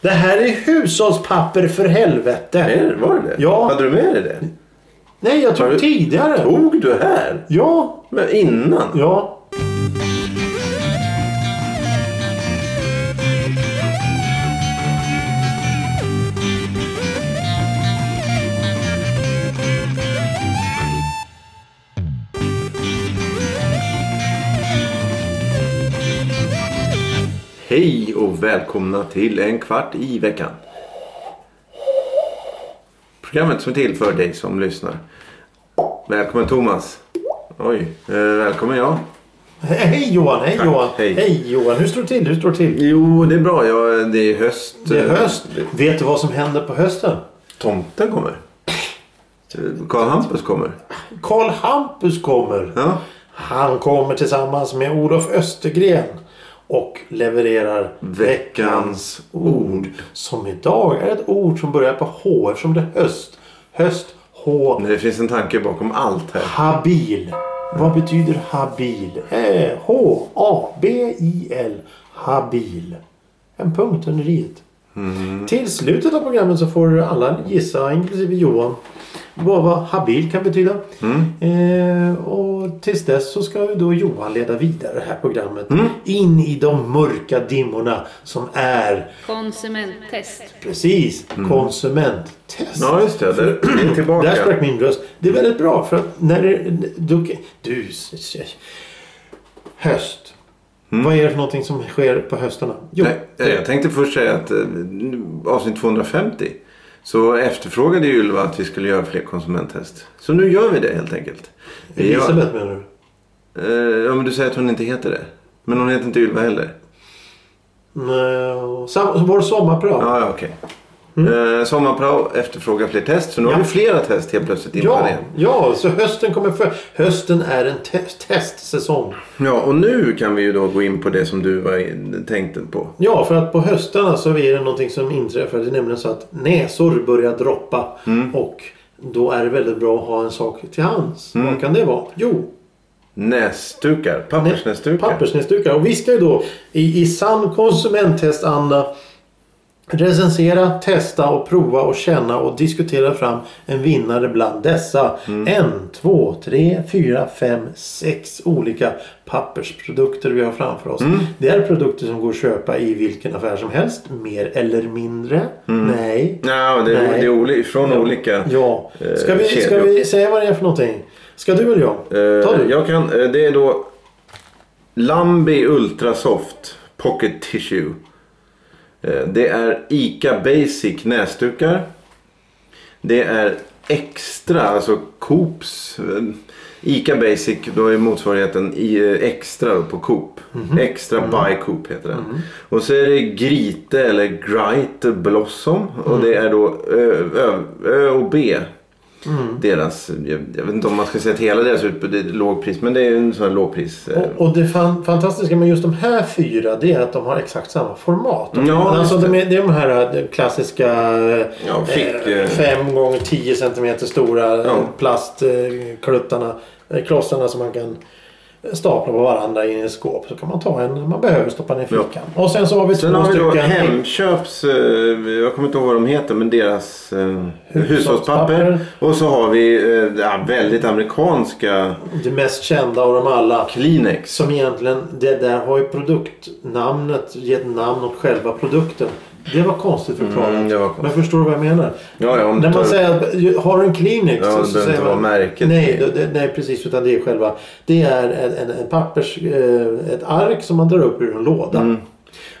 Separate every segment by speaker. Speaker 1: Det här är hushållspapper för helvete.
Speaker 2: Är det, var det det?
Speaker 1: Ja.
Speaker 2: Hade du med dig det?
Speaker 1: Nej, jag
Speaker 2: Har
Speaker 1: tog
Speaker 2: du-
Speaker 1: tidigare.
Speaker 2: Tog du här?
Speaker 1: Ja,
Speaker 2: Men innan?
Speaker 1: ja.
Speaker 2: Hej och välkomna till en kvart i veckan. Programmet som är till för dig som lyssnar. Välkommen Thomas. Oj, eh, välkommen jag.
Speaker 1: Hej Johan, hej
Speaker 2: Tack,
Speaker 1: Johan.
Speaker 2: hej.
Speaker 1: Hej Johan, hur står det till? Hur står det till?
Speaker 2: Jo, det är bra. Jag, det är höst.
Speaker 1: Det är höst. Vet du vad som händer på hösten?
Speaker 2: Tomten kommer. Karl Hampus kommer.
Speaker 1: Karl Hampus kommer.
Speaker 2: Ja.
Speaker 1: Han kommer tillsammans med Olof Östergren och levererar
Speaker 2: Veckans ord.
Speaker 1: Som idag är ett ord som börjar på H eftersom det är höst. Höst, H,
Speaker 2: Det finns en tanke bakom allt här.
Speaker 1: habil. Vad betyder habil? Eh, H, A, B, I, L. Habil. En punkt under i. Till slutet av programmet så får alla gissa, inklusive Johan, vad, vad habil kan betyda. Eh, och tills dess så ska ju då Johan leda vidare det här programmet. In i de mörka dimmorna som är
Speaker 3: Konsumenttest.
Speaker 1: Precis, konsumenttest.
Speaker 2: Ja, just det. Det det är
Speaker 1: Där
Speaker 2: tillbaka.
Speaker 1: sprack min röst. Det är väldigt bra för att när det, du, du Höst. Vad är det för någonting som sker på höstarna? Jo,
Speaker 2: Mm. Nej, jag tänkte först säga att eh, avsnitt 250 så efterfrågade ju Ylva att vi skulle göra fler konsumenttest. Så nu gör vi det helt enkelt. Vi gör-
Speaker 1: Elisabeth menar du?
Speaker 2: Eh, ja, men du säger att hon inte heter det. Men hon heter inte Ylva heller.
Speaker 1: Nej, sam- Vår sommarprat.
Speaker 2: Ja, ja okej. Eh, sommarprao efterfrågar fler test. Så nu
Speaker 1: Mm. Ja.
Speaker 2: har vi flera test helt plötsligt
Speaker 1: Ja,
Speaker 2: inplanerade.
Speaker 1: ja, så hösten kommer för... Hösten är en te- testsäsong.
Speaker 2: Ja, och nu kan vi ju då gå in på det som du var in- tänkte på.
Speaker 1: Ja, för att på höstarna så är det någonting som inträffar. Det är nämligen så att näsor börjar droppa.
Speaker 2: Mm.
Speaker 1: Och då är det väldigt bra att ha en sak till hands.
Speaker 2: Mm.
Speaker 1: Vad kan det vara? Jo,
Speaker 2: Näsdukar. Pappersnäsdukar.
Speaker 1: Pappersnäsdukar. Och vi ska ju då i, i sann konsumenttest-anda recensera, testa och prova och känna och diskutera fram en vinnare bland dessa
Speaker 2: Mm.
Speaker 1: en, två, tre, fyra, fem, sex olika pappersprodukter vi har framför
Speaker 2: Mm.
Speaker 1: oss. Det är produkter som går att köpa i vilken affär som helst, mer eller mindre. Nej.
Speaker 2: Ja, det, är-
Speaker 1: Nej.
Speaker 2: det är oli- från Mm. olika
Speaker 1: Ja. Ska
Speaker 2: eh,
Speaker 1: vi, ska
Speaker 2: kedjor.
Speaker 1: vi säga vad det är för någonting? Ska du eller jag?
Speaker 2: Eh,
Speaker 1: Ta du.
Speaker 2: Jag kan, eh, det är då Lambi Ultra Soft Pocket Tissue. Eh, Det är ICA Basic näsdukar. Det är Extra, alltså Coops. eh, ICA Basic, då är motsvarigheten i eh, Extra då på Coop. Extra by Coop heter det. Och så är det Grite eller Grite Blossom. Och det är då Ö, Ö, Ö och B deras, jag, jag vet inte om man ska säga att hela deras utbud är lågpris, men det är ju en sån här lågpris. eh,
Speaker 1: Och, och det fan, fantastiska med just de här fyra det är att de har exakt samma format.
Speaker 2: Ja, just
Speaker 1: alltså, de
Speaker 2: det.
Speaker 1: är, det är de här eh, klassiska
Speaker 2: Ja, fick, eh,
Speaker 1: 5 gånger 10 cm stora eh,
Speaker 2: Ja.
Speaker 1: plastkluttarna, eh, klossarna som man kan stapla på varandra i ett skåp. Så kan man ta en man behöver stoppa ner i
Speaker 2: Ja.
Speaker 1: fickan. Och sen så har vi två
Speaker 2: Sen har vi då
Speaker 1: stycken
Speaker 2: Hemköps, eh, jag kommer inte ihåg vad de heter, men deras eh, hushållspapper.
Speaker 1: Hushållspapper.
Speaker 2: Och så har vi eh, ja, väldigt amerikanska
Speaker 1: det mest kända av dem alla.
Speaker 2: Kleenex.
Speaker 1: Som egentligen, det där har ju produktnamnet gett namn åt själva produkten. Det var konstigt förklarat.
Speaker 2: Mm, det var konstigt.
Speaker 1: Men förstår du vad jag menar?
Speaker 2: Ja, ja, om du
Speaker 1: När man
Speaker 2: tar-
Speaker 1: säger att har du en Kleenex
Speaker 2: Ja, det behöver inte vara märket.
Speaker 1: Nej, det- det, nej, precis. Utan det är själva... Det är en, en, en pappers... eh, Ett ark som man drar upp ur en låda.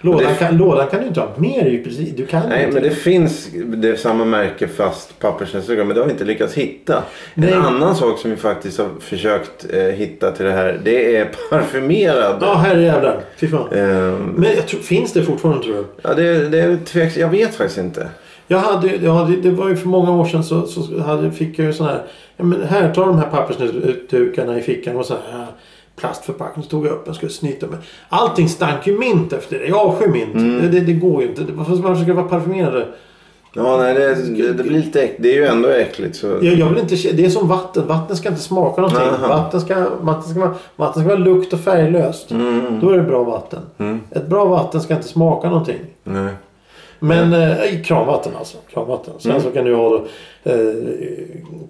Speaker 1: Lådan,
Speaker 2: Och Mm. det-
Speaker 1: kan, lådan kan du inte ha mer i. Precis, du kan
Speaker 2: Nej,
Speaker 1: inte.
Speaker 2: men det finns det är samma märke fast pappersnäsdukar, men det har vi inte lyckats hitta.
Speaker 1: Nej.
Speaker 2: En annan sak som vi faktiskt har försökt eh, hitta till det här, det är parfymerad.
Speaker 1: Ja, herrejävlar. Fy fan.
Speaker 2: Eh,
Speaker 1: Men jag tror, finns det fortfarande tror du?
Speaker 2: Ja, det, det är tveks... Jag vet faktiskt inte.
Speaker 1: Jag hade, jag hade, det var ju för många år sedan så, så hade, fick jag ju sån här. Ja, men här, ta de här pappersdukarna i fickan och så här plastförpackning. Så tog jag upp den och skulle snyta mig. Allting stank ju mint efter det. Jag avskyr mint. Det, det, det går ju inte. Det- Varför varför ska det vara parfymerade?
Speaker 2: Ja, nej, det, det, det blir lite äckligt. Det är ju ändå äckligt. Så...
Speaker 1: Jag, jag vill inte, ke- det är som vatten. Vatten ska inte smaka någonting.
Speaker 2: Aha.
Speaker 1: Vatten ska, vatten, ska vara, vatten ska vara lukt och färglöst. Då är det bra vatten. Ett bra vatten ska inte smaka någonting.
Speaker 2: Nej.
Speaker 1: Men eh, i kranvatten alltså. Kranvatten. Sen
Speaker 2: Mm.
Speaker 1: så kan du ha eh,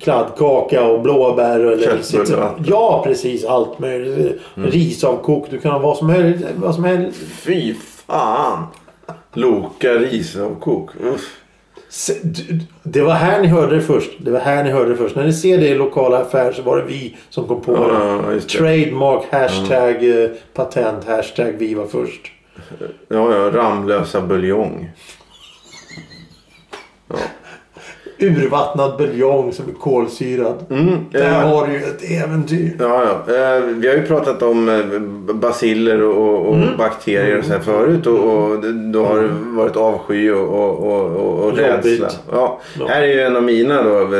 Speaker 1: kladdkaka och blåbär. Eller
Speaker 2: Köttbullar. Mm.
Speaker 1: citron. Ja, precis. Allt möjligt. Risavkok. Du kan ha vad som helst. Vad som helst.
Speaker 2: Fy fan! Loka risavkok. Uff.
Speaker 1: Se- du- du- Det var här ni hörde det först. Det var här ni hörde det först. När ni ser det i lokala affärer så var det vi som kom på
Speaker 2: Ja,
Speaker 1: det.
Speaker 2: just det. Mm.
Speaker 1: Trademark, hashtag, eh, patent, hashtag vi var först.
Speaker 2: Ja, ja. Ramlösa buljong.
Speaker 1: Urvattnad buljong som är kolsyrad. Där
Speaker 2: eh.
Speaker 1: har du ju ett äventyr.
Speaker 2: Ja, ja. Eh, Vi har ju pratat om eh, basiller och, och
Speaker 1: Mm.
Speaker 2: bakterier och så här förut. Och, och då har det varit avsky och, och, och, och- och
Speaker 1: Jobbigt.
Speaker 2: rädsla. Ja.
Speaker 1: Ja.
Speaker 2: Här är ju en av mina då. eh,
Speaker 1: Att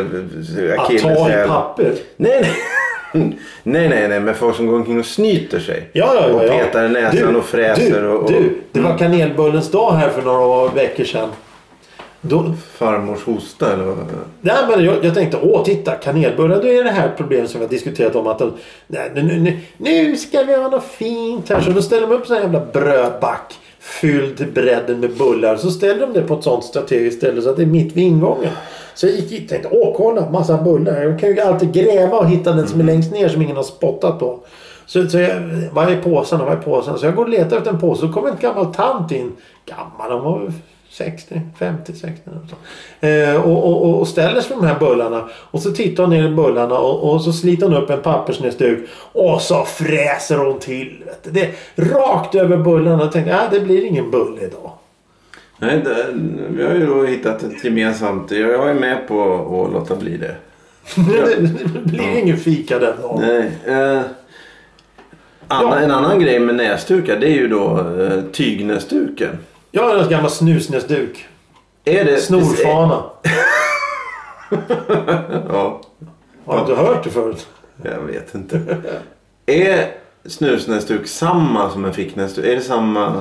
Speaker 1: ta i
Speaker 2: akilleshäl.
Speaker 1: papper.
Speaker 2: Nej, nej. Nej, nej, nej, men folk som går omkring och snyter sig.
Speaker 1: Ja, ja, ja,
Speaker 2: och
Speaker 1: ja.
Speaker 2: petar i näsan
Speaker 1: Du,
Speaker 2: och fräser.
Speaker 1: Du,
Speaker 2: och, Mm. och
Speaker 1: du, det var kanelbullens dag här för några veckor sedan. Då,
Speaker 2: Farmors hosta eller vad?
Speaker 1: Nej, men jag, jag tänkte, åh titta kanelbullar, då är det här problemet som vi har diskuterat om att de- nej, nu, nu, nu, nu ska vi ha något fint här. Så då ställer de upp en jävla brödback fylld till bredden med bullar. Så ställer de det på ett sånt strategiskt ställe så att det är mitt vid ingången. Så jag gick hit och tänkte, åh kolla massa bullar. Jag kan ju alltid gräva och hitta den
Speaker 2: Mm.
Speaker 1: som är längst ner som ingen har spottat på. Så, så jag, vad är påsen och vad är påsen? Så jag går och letar efter en påse. Så kommer en gammal tant in. Gammal, hon var väl 60, 50, 60 eller så. Eh, och, och, och- och ställer sig på de här bullarna. Och så tittar hon ner i bullarna och, och så sliter hon upp en pappersnäsduk. Och så fräser hon till. Vet du. Det, rakt över bullarna. Jag tänkte, nej det blir ingen bulle idag.
Speaker 2: Nej, det, vi har ju då hittat ett gemensamt. Jag är med på att låta bli det.
Speaker 1: det, det blir ingen fika den dagen.
Speaker 2: Nej. Eh, annan,
Speaker 1: Ja.
Speaker 2: En annan grej med näsdukar det är ju då eh, tygnäsduken.
Speaker 1: Jag har en gammal snusnäsduk.
Speaker 2: Är det...
Speaker 1: Snorfana.
Speaker 2: Ja,
Speaker 1: Har du inte hört det förut?
Speaker 2: jag vet inte. är snusnäsduk samma som en ficknäsduk? Är det samma...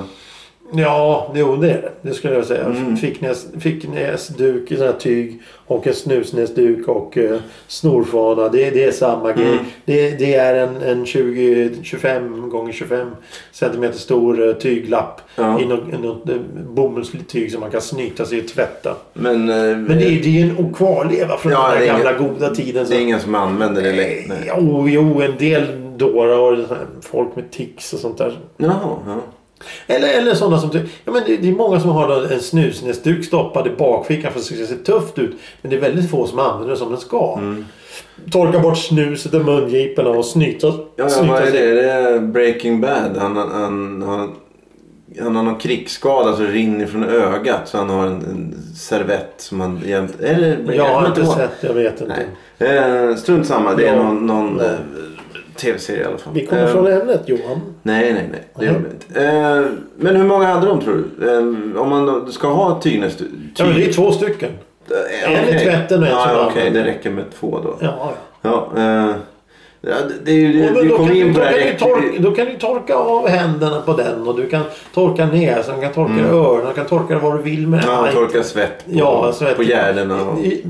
Speaker 1: Ja, jo det är det. Det skulle jag säga.
Speaker 2: Mm.
Speaker 1: Ficknäs, ficknäsduk i sån här tyg och en snusnäsduk och eh, snorfana. Det, det är samma grej.
Speaker 2: Mm.
Speaker 1: Det, det är en, en 20, 25 gånger 25 centimeter stor eh, tyglapp
Speaker 2: Ja.
Speaker 1: i något, något eh, bomullstyg som man kan snyta sig och tvätta.
Speaker 2: Men, eh,
Speaker 1: Men det, är- det är en kvarleva från
Speaker 2: Ja,
Speaker 1: den
Speaker 2: det
Speaker 1: där
Speaker 2: är
Speaker 1: gamla
Speaker 2: ingen-
Speaker 1: goda tiden.
Speaker 2: det är ingen som använder det längre?
Speaker 1: Nej,
Speaker 2: Nej.
Speaker 1: Jo, jo, en del dårar har det så här, folk med tics och sånt där.
Speaker 2: Jaha, ja.
Speaker 1: Eller, eller sådana som... Ja, men det, det är många som har en snusnäsduk stoppad i bakfickan för att det ska se tufft ut. Men det är väldigt få som använder det som den ska.
Speaker 2: Mm.
Speaker 1: Torka bort snuset och mungiporna och snyta,
Speaker 2: Ja, ja,
Speaker 1: snyta
Speaker 2: vad är
Speaker 1: sig.
Speaker 2: det? Det är Breaking Bad. Han, han, han, han har någon krigsskada så det rinner från ögat. Så han har en, en servett som han jämt... Är det,
Speaker 1: Jag har
Speaker 2: kommer
Speaker 1: inte
Speaker 2: ihåg.
Speaker 1: sett, jag vet inte.
Speaker 2: Nej. Eh, strunt samma. Det är
Speaker 1: Ja.
Speaker 2: någon, någon
Speaker 1: Ja.
Speaker 2: eh, tv-serie i alla fall.
Speaker 1: Vi kommer
Speaker 2: Eh,
Speaker 1: från ämnet Johan.
Speaker 2: Nej, nej, nej. Det
Speaker 1: Nej.
Speaker 2: gjorde vi inte. Eh, men hur många hade de tror du? Eh, om man då ska ha tygnäst... Tyg...
Speaker 1: Ja, men det är två stycken.
Speaker 2: Eh,
Speaker 1: en i
Speaker 2: okej.
Speaker 1: tvätten och en som
Speaker 2: ja, Okej,
Speaker 1: använder.
Speaker 2: det räcker med två då.
Speaker 1: Ja,
Speaker 2: Ja, eh, ja, det- det är ju...
Speaker 1: ja.
Speaker 2: Det,
Speaker 1: Men
Speaker 2: vi
Speaker 1: då, kan
Speaker 2: kommer
Speaker 1: du,
Speaker 2: in på
Speaker 1: då,
Speaker 2: det
Speaker 1: kan
Speaker 2: här
Speaker 1: du
Speaker 2: direkt.
Speaker 1: torka, då kan du torka av händerna på den och du kan torka näsan, du kan torka öronen, du kan torka vad du vill med
Speaker 2: Mm. Ja,
Speaker 1: den.
Speaker 2: han torkar svett på,
Speaker 1: Ja, så att-
Speaker 2: på gärderna. Och...
Speaker 1: I- i-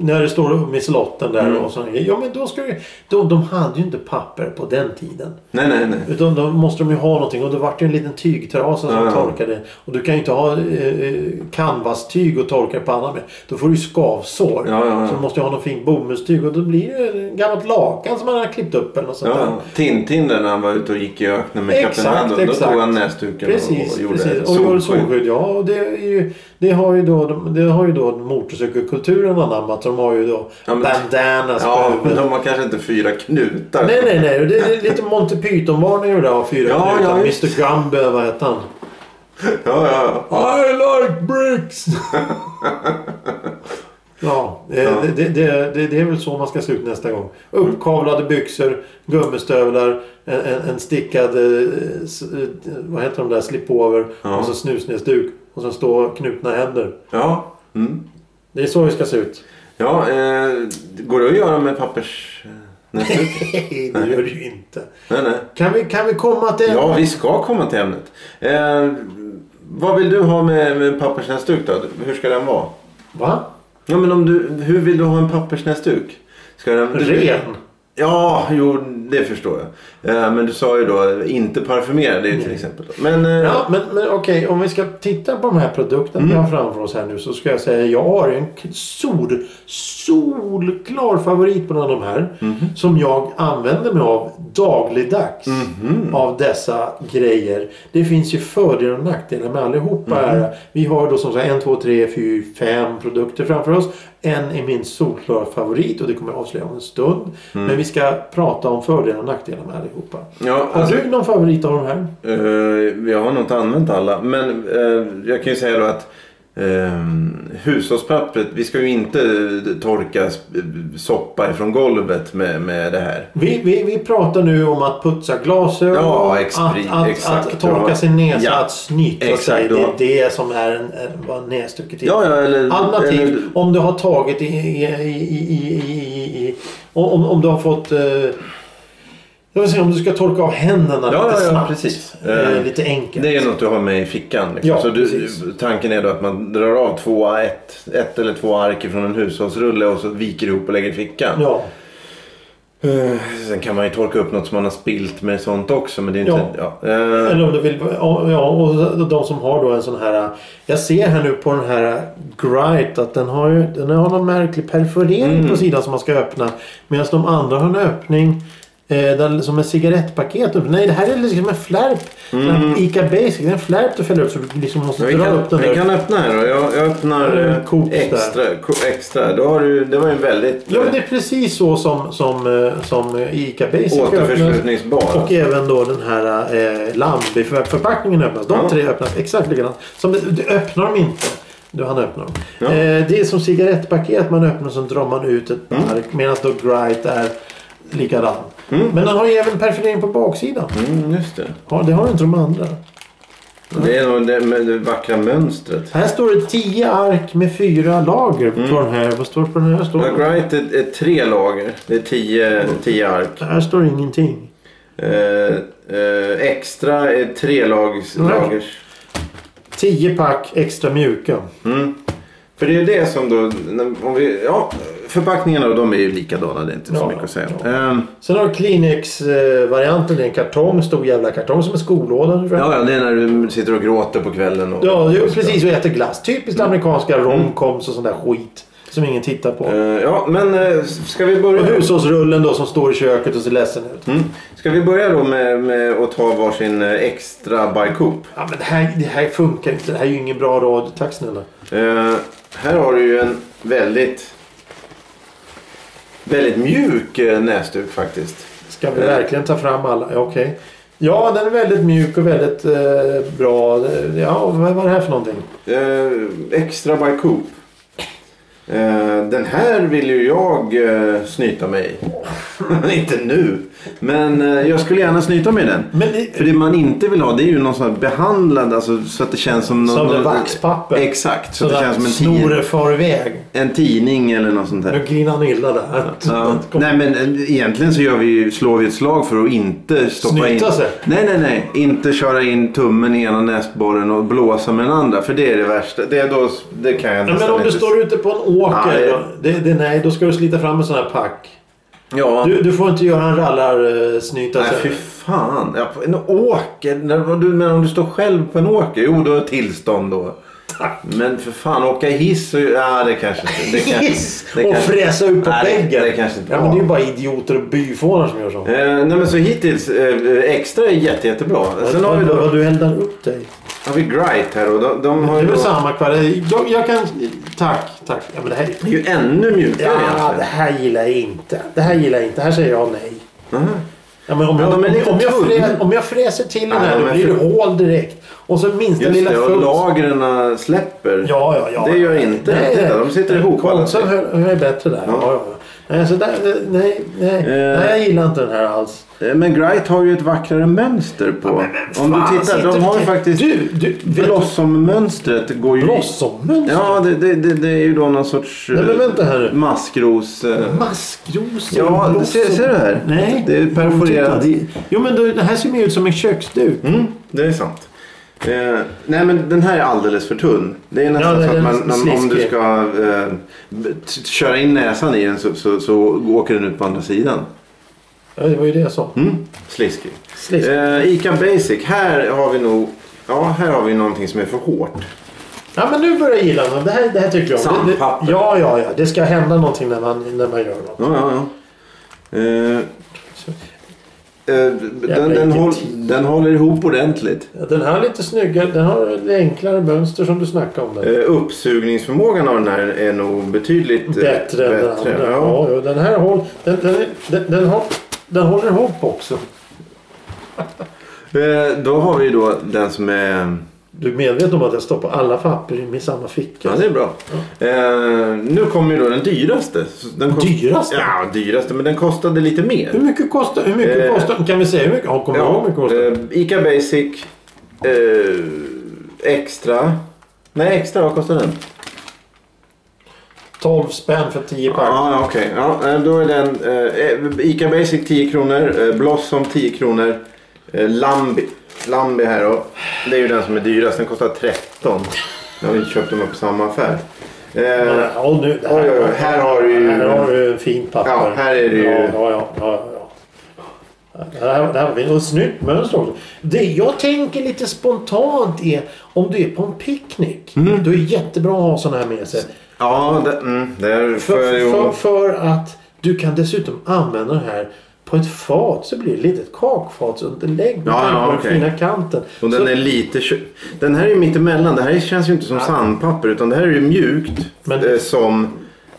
Speaker 1: När det står med slotten där
Speaker 2: Mm.
Speaker 1: och sådana grejer. Ja men då ska vi, de, de hade ju inte papper på den tiden.
Speaker 2: Nej, nej, nej.
Speaker 1: Utan då måste de ju ha någonting och då vart det ju en liten tygtrasa som
Speaker 2: Ja, ja.
Speaker 1: torkade. Och du kan ju inte ha eh, eh, canvas-tyg och torka pannan med. Då får du ju skavsår.
Speaker 2: Ja, ja, ja.
Speaker 1: Så du måste ju ha någon fin bomullstyg och då blir det ju ett gammalt lakan som man har klippt upp eller något sånt där.
Speaker 2: Ja, Tintin där när han var ute och gick i öknen med
Speaker 1: Exakt,
Speaker 2: Kapten Haddock. Då
Speaker 1: exakt.
Speaker 2: tog han näsduken
Speaker 1: Precis,
Speaker 2: och, och gjorde
Speaker 1: precis. Och gjorde
Speaker 2: solskydd.
Speaker 1: solskydd. Ja, och det, är ju, det har ju då, det har ju då motorcykelkulturen anammat. De har ju då
Speaker 2: Ja, men-
Speaker 1: bandanas på
Speaker 2: Ja, men
Speaker 1: huvudet.
Speaker 2: de har kanske inte fyra knutar.
Speaker 1: Nej, nej, nej. Det är lite Monty Python-varning över det där. Fyra
Speaker 2: Ja,
Speaker 1: ja,
Speaker 2: ja, visst.
Speaker 1: Mr Gumby, vad hette han?
Speaker 2: Ja, ja, ja.
Speaker 1: I like bricks! ja, eh, Det, det, det, det är väl så man ska se ut nästa gång. Uppkavlade byxor, gummistövlar, en, en, en stickad eh, s- eh, vad heter de där, slipover
Speaker 2: Ja.
Speaker 1: och så snusnäsduk. Och sen stå knutna händer.
Speaker 2: Ja, mm.
Speaker 1: Det är så vi ska se ut.
Speaker 2: ja eh, går det att göra med pappers... näsduk?
Speaker 1: Nej, det gör det ju inte.
Speaker 2: nej, nej.
Speaker 1: Kan vi, kan vi komma till...
Speaker 2: Ja, vi ska komma till ämnet. Eh, vad vill du ha med, med pappersnäsduk då? Hur ska den vara?
Speaker 1: Va?
Speaker 2: Ja, men om du, hur vill du ha en pappersnäsduk? Ska den...
Speaker 1: Ren?
Speaker 2: Ja, jo, det förstår jag. Eh, Men du sa ju då eh, inte parfymerad det är ju till exempel. då. Men eh,
Speaker 1: Ja, men, men okej, om vi ska titta på de här produkterna vi har framför oss här nu så ska jag säga jag har en k- sol, solklar favorit på någon av de här. Som jag använder mig av dagligdags. Av dessa grejer. Det finns ju fördelar och nackdelar med allihopa här. Vi har då som sagt en, två, tre, fyra, fem produkter framför oss. En är min solklara favorit och det kommer jag avslöja om en stund. Men vi ska prata om fördelar och nackdelar med allihopa.
Speaker 2: ja,
Speaker 1: Har
Speaker 2: alltså,
Speaker 1: du någon favorit av de här?
Speaker 2: eh, jag har nog inte använt alla. Men eh, jag kan ju säga då att eh, hushållspappret, vi ska ju inte eh, torka sp- soppa ifrån golvet med, med det här.
Speaker 1: Vi, vi, vi pratar nu om att putsa glasögon,
Speaker 2: Ja,
Speaker 1: att,
Speaker 2: expri-
Speaker 1: att,
Speaker 2: exakt.
Speaker 1: att torka sin näsa,
Speaker 2: Ja.
Speaker 1: att snyta sig.
Speaker 2: Exakt,
Speaker 1: Det
Speaker 2: du
Speaker 1: är
Speaker 2: har-
Speaker 1: det som är en, en, vad näsduket är.
Speaker 2: Ja, ja, eller...
Speaker 1: Alternativt
Speaker 2: eller-
Speaker 1: om du har tagit i... i, i, i, i, i, i om, om du har fått... Eh, jag vill säga om du ska torka av händerna
Speaker 2: Ja,
Speaker 1: lite
Speaker 2: ja, ja,
Speaker 1: snabbt.
Speaker 2: precis.
Speaker 1: Eh,
Speaker 2: Eh,
Speaker 1: lite enkelt.
Speaker 2: Det är ju något du har med i fickan. Liksom.
Speaker 1: Ja,
Speaker 2: så du,
Speaker 1: precis.
Speaker 2: tanken är då att man drar av två, ett, ett eller två ark från en hushållsrulle och så viker ihop och lägger i fickan.
Speaker 1: Ja,
Speaker 2: Eh, Sen kan man ju torka upp något som man har spilt med sånt också. Men det är inte... Ja. Eh,
Speaker 1: eller om du vill... ja, Ja, och de som har då en sån här... Jag ser här nu på den här Grite att den har ju den har någon märklig perforering
Speaker 2: Mm.
Speaker 1: på sidan som man ska öppna. Medan de andra har en öppning eh, där, som en cigarettpaket. upp. Nej, det här är liksom en flärp. Mm. Ica Basic. Det är en flärp du fäller upp så du liksom måste
Speaker 2: men vi,
Speaker 1: dra
Speaker 2: kan,
Speaker 1: upp den
Speaker 2: vi
Speaker 1: där.
Speaker 2: kan öppna här då. Jag, jag öppnar
Speaker 1: Mm,
Speaker 2: eh,
Speaker 1: Coops där.
Speaker 2: extra. ko- extra. Då har du, det var ju en väldigt
Speaker 1: Ja, men det är precis så som, som, eh, som eh, Ica Basic öppnas.
Speaker 2: återförslutningsbar.
Speaker 1: Och även då den här eh, Lambi-förpackningen öppnas. De
Speaker 2: Ja.
Speaker 1: tre öppnas exakt likadant. Som, det- det öppnar dem inte. Du, han öppnar dem.
Speaker 2: Ja.
Speaker 1: Eh, det är som cigarettpaket man öppnar så drar man ut ett
Speaker 2: Mm.
Speaker 1: bark. Medan då Grite är likadan. Men den har ju även perfilering på baksidan.
Speaker 2: Mm, just det.
Speaker 1: Ja, det har inte de andra.
Speaker 2: Det är nog det, med det vackra mönstret.
Speaker 1: Här står det 10 ark med fyra lager på
Speaker 2: Mm.
Speaker 1: den här. Vad står det på den här? Står
Speaker 2: Black Right är, är tre lager. Det är tio, tio ark.
Speaker 1: Här står ingenting.
Speaker 2: Eh, eh, extra är tre lagers.
Speaker 1: Mm.
Speaker 2: lagers.
Speaker 1: 10 pack extra mjuka.
Speaker 2: Mm. För det är ju det som då... när- Om vi, ja, förpackningarna då, de är ju likadana. Det är inte så
Speaker 1: Ja,
Speaker 2: mycket att säga.
Speaker 1: ja.
Speaker 2: Ehm,
Speaker 1: Sen har du Kleenex-varianten. Det är en kartong. Stor jävla kartong som en skolåda. tror jag.
Speaker 2: ja, ja, det är när du sitter och gråter på kvällen. Och,
Speaker 1: Ja, ju-
Speaker 2: och så.
Speaker 1: precis. Och äter glass. Typiskt amerikanska romcoms och sån där skit. Som ingen tittar på.
Speaker 2: Eh, ja, men eh, ska vi
Speaker 1: Och
Speaker 2: börja...
Speaker 1: hushållsrullen då som står i köket och ser ledsen ut.
Speaker 2: Mm. Ska vi börja då med, med att ta varsin eh, extra by Coop?
Speaker 1: Ja, men det här, det här funkar inte. Det här är ju ingen bra radio. Tack snälla.
Speaker 2: Eh, här har du ju en väldigt... Väldigt mjuk eh, näsduk faktiskt.
Speaker 1: Ska vi verkligen ta fram alla? Ja, okej. Ja, den är väldigt mjuk och väldigt eh, bra. Ja, vad var det här för någonting?
Speaker 2: Eh, extra by Coop. Eh, den här vill ju jag eh, snyta mig i. inte nu. Men eh, jag skulle gärna snyta mig i den.
Speaker 1: Men det-
Speaker 2: För det man inte vill ha det är ju någon sån här behandlad, alltså, så att det känns som... Någon,
Speaker 1: Som
Speaker 2: någon,
Speaker 1: det vaxpapper.
Speaker 2: Exakt, så att det
Speaker 1: Sådär,
Speaker 2: känns som en,
Speaker 1: Snoren
Speaker 2: tid,
Speaker 1: far iväg.
Speaker 2: en tidning eller något sånt där.
Speaker 1: Nu grinar han illa där.
Speaker 2: Ja. Nej men eh, egentligen så gör vi ju, slår vi ett slag för att inte stoppa
Speaker 1: Snyta
Speaker 2: in...
Speaker 1: sig.
Speaker 2: Nej, nej, nej. Inte köra in tummen i ena näsborren och blåsa med den andra. För det är det värsta. Det, är då, det kan jag
Speaker 1: Ja, men
Speaker 2: nästan
Speaker 1: om du
Speaker 2: inte...
Speaker 1: står ute på en åker.
Speaker 2: Nej.
Speaker 1: då- Det, det, nej, då ska du slita fram en sån här pack.
Speaker 2: Ja.
Speaker 1: Du, du får inte göra en eh, rallarsnyt.
Speaker 2: Nej, fy fan. Ja, på en åker. När- vad Du menar om du står själv på en åker? Jo, då är det tillstånd då. Men för fan, åka hiss och... Ja, det kanske inte... Det kanske,
Speaker 1: Hiss!
Speaker 2: det
Speaker 1: Och
Speaker 2: kanske-
Speaker 1: fräsa upp på
Speaker 2: Nej, det-
Speaker 1: väggen.
Speaker 2: Det kanske inte
Speaker 1: ja, men
Speaker 2: var.
Speaker 1: det är ju bara idioter och byfånar som gör så.
Speaker 2: Eh, nej men så hittills, eh, extra är jätte, jättebra. Sen har vi då
Speaker 1: Vad du eldar upp dig.
Speaker 2: har vi Grite här och de, de
Speaker 1: Det
Speaker 2: har
Speaker 1: är
Speaker 2: ju,
Speaker 1: väl
Speaker 2: då,
Speaker 1: samma kvalitet. Jag, jag kan... Tack, tack. Ja, men det här...
Speaker 2: det är ju ännu mjukare
Speaker 1: Ja,
Speaker 2: egentligen.
Speaker 1: det här gillar jag inte. Det här gillar jag inte. Här säger jag nej.
Speaker 2: Mhm.
Speaker 1: Ja, men om, jag,
Speaker 2: Ja, de är
Speaker 1: om,
Speaker 2: lite
Speaker 1: om, jag
Speaker 2: tunn.
Speaker 1: frä, om jag fräser till den
Speaker 2: Ja,
Speaker 1: här
Speaker 2: de
Speaker 1: då
Speaker 2: är
Speaker 1: blir det
Speaker 2: för-
Speaker 1: hål direkt. Och så minsta
Speaker 2: Just
Speaker 1: lilla
Speaker 2: det, och
Speaker 1: fukt.
Speaker 2: lagren släpper.
Speaker 1: Ja, ja, ja.
Speaker 2: Det gör inte.
Speaker 1: Nej,
Speaker 2: Titta,
Speaker 1: nej.
Speaker 2: de sitter ihop alla
Speaker 1: Konsum
Speaker 2: tre.
Speaker 1: hör, hör bättre där. Ja. Ja, ja. Nej, så där, nej, nej,
Speaker 2: Eh.
Speaker 1: nej, jag gillar inte den här alls.
Speaker 2: Eh, Men Grite har ju ett vackrare mönster på.
Speaker 1: men
Speaker 2: Om
Speaker 1: fan,
Speaker 2: du tittar,
Speaker 1: sitter
Speaker 2: de har
Speaker 1: du-
Speaker 2: ju faktiskt...
Speaker 1: Du, du, vet du-
Speaker 2: Blossommönstret går ju...
Speaker 1: Blossommönster?
Speaker 2: Ja, det, det, det, det är ju då någon sorts... eh,
Speaker 1: Nej, men vänta här nu.
Speaker 2: Maskros... eh,
Speaker 1: Maskrosor.
Speaker 2: Ja,
Speaker 1: blossom.
Speaker 2: ser- ser du här?
Speaker 1: Nej.
Speaker 2: Det är perforerat.
Speaker 1: Titta, det- Jo, men då- det här ser ju ut som en köksduk.
Speaker 2: Mm, det är sant. Eh, nej men den här är alldeles för tunn. Det är
Speaker 1: Ja,
Speaker 2: nästan
Speaker 1: den-
Speaker 2: så att man,
Speaker 1: den
Speaker 2: om- om du
Speaker 1: sliskig.
Speaker 2: ska eh, t- köra in näsan i den så, så, så åker den ut på andra sidan.
Speaker 1: Ja, det var ju det jag sa.
Speaker 2: Mm. Sliskig.
Speaker 1: Sliskig.
Speaker 2: Eh, Ica Basic. Här har vi nog... Ja, här har vi någonting som är för hårt.
Speaker 1: Ja, men nu börjar jag gilla honom. Det här, det här tycker jag om. Det- det-
Speaker 2: Sandpapper.
Speaker 1: Ja, ja, ja. Det ska hända någonting när man, när man gör något.
Speaker 2: Ja, ja, ja. Eh, eh, den, den,
Speaker 1: vilken
Speaker 2: håll,
Speaker 1: tid.
Speaker 2: den håller ihop ordentligt.
Speaker 1: Ja, Den här är lite snyggare. Den har det enklare mönster som du snackade om. Där.
Speaker 2: Eh, uppsugningsförmågan av den här är nog betydligt eh,
Speaker 1: Bättre än den andra.
Speaker 2: Ja.
Speaker 1: Ja. Ja, den här håll, den, den, är- den, den, har, den håller ihop också.
Speaker 2: Eh, då har vi då den som är...
Speaker 1: Du är medveten om att jag stoppar alla papper i min samma ficka?
Speaker 2: Ja, det är bra. Eh, nu kommer ju då den dyraste. Så Den kost-
Speaker 1: Dyraste?
Speaker 2: Ja, dyraste. Men den kostade lite
Speaker 1: Hur
Speaker 2: mer.
Speaker 1: mycket kostar hur mycket
Speaker 2: Eh,
Speaker 1: kostar Kan vi säga hur mycket? Ja, kommer du ihåg hur
Speaker 2: Ja,
Speaker 1: mycket kostar?
Speaker 2: eh, Ica Basic. Eh, extra. Nej, extra. Vad kostar den?
Speaker 1: 12 spänn för 10 pack.
Speaker 2: Ja, ja, okej. Ja, eh, då är den eh, Ica Basic 10 kronor, eh, Blossom 10 kronor, eh, Lambi. Lambi här då. Det är ju den som är dyrast. Den kostar 13. Jag har inte köpt dem på samma affär. Eh,
Speaker 1: Ja, och nu, det
Speaker 2: Oj, oj, oj. Här har du ju-
Speaker 1: Här har du fint papper.
Speaker 2: Ja, här är det ju-
Speaker 1: Ja, ja, ja, ja, ja. Det här, det här var fint. Och ett snyggt mönster också. Det jag tänker lite spontant är om du är på en picknick.
Speaker 2: Mm.
Speaker 1: Då är det jättebra att ha sådana här med sig.
Speaker 2: ja, det, mm, det
Speaker 1: För,
Speaker 2: är för,
Speaker 1: för, för att du kan dessutom använda det här på ett fat så blir det lite ett kakfatsunderlägg med
Speaker 2: Ja,
Speaker 1: tanke
Speaker 2: ja,
Speaker 1: på
Speaker 2: okej.
Speaker 1: den fina kanten.
Speaker 2: Och
Speaker 1: Så-
Speaker 2: den är lite... tjo- Den här är ju mittemellan. Det här känns ju inte som sandpapper utan det här är ju mjukt
Speaker 1: Men-
Speaker 2: eh, som...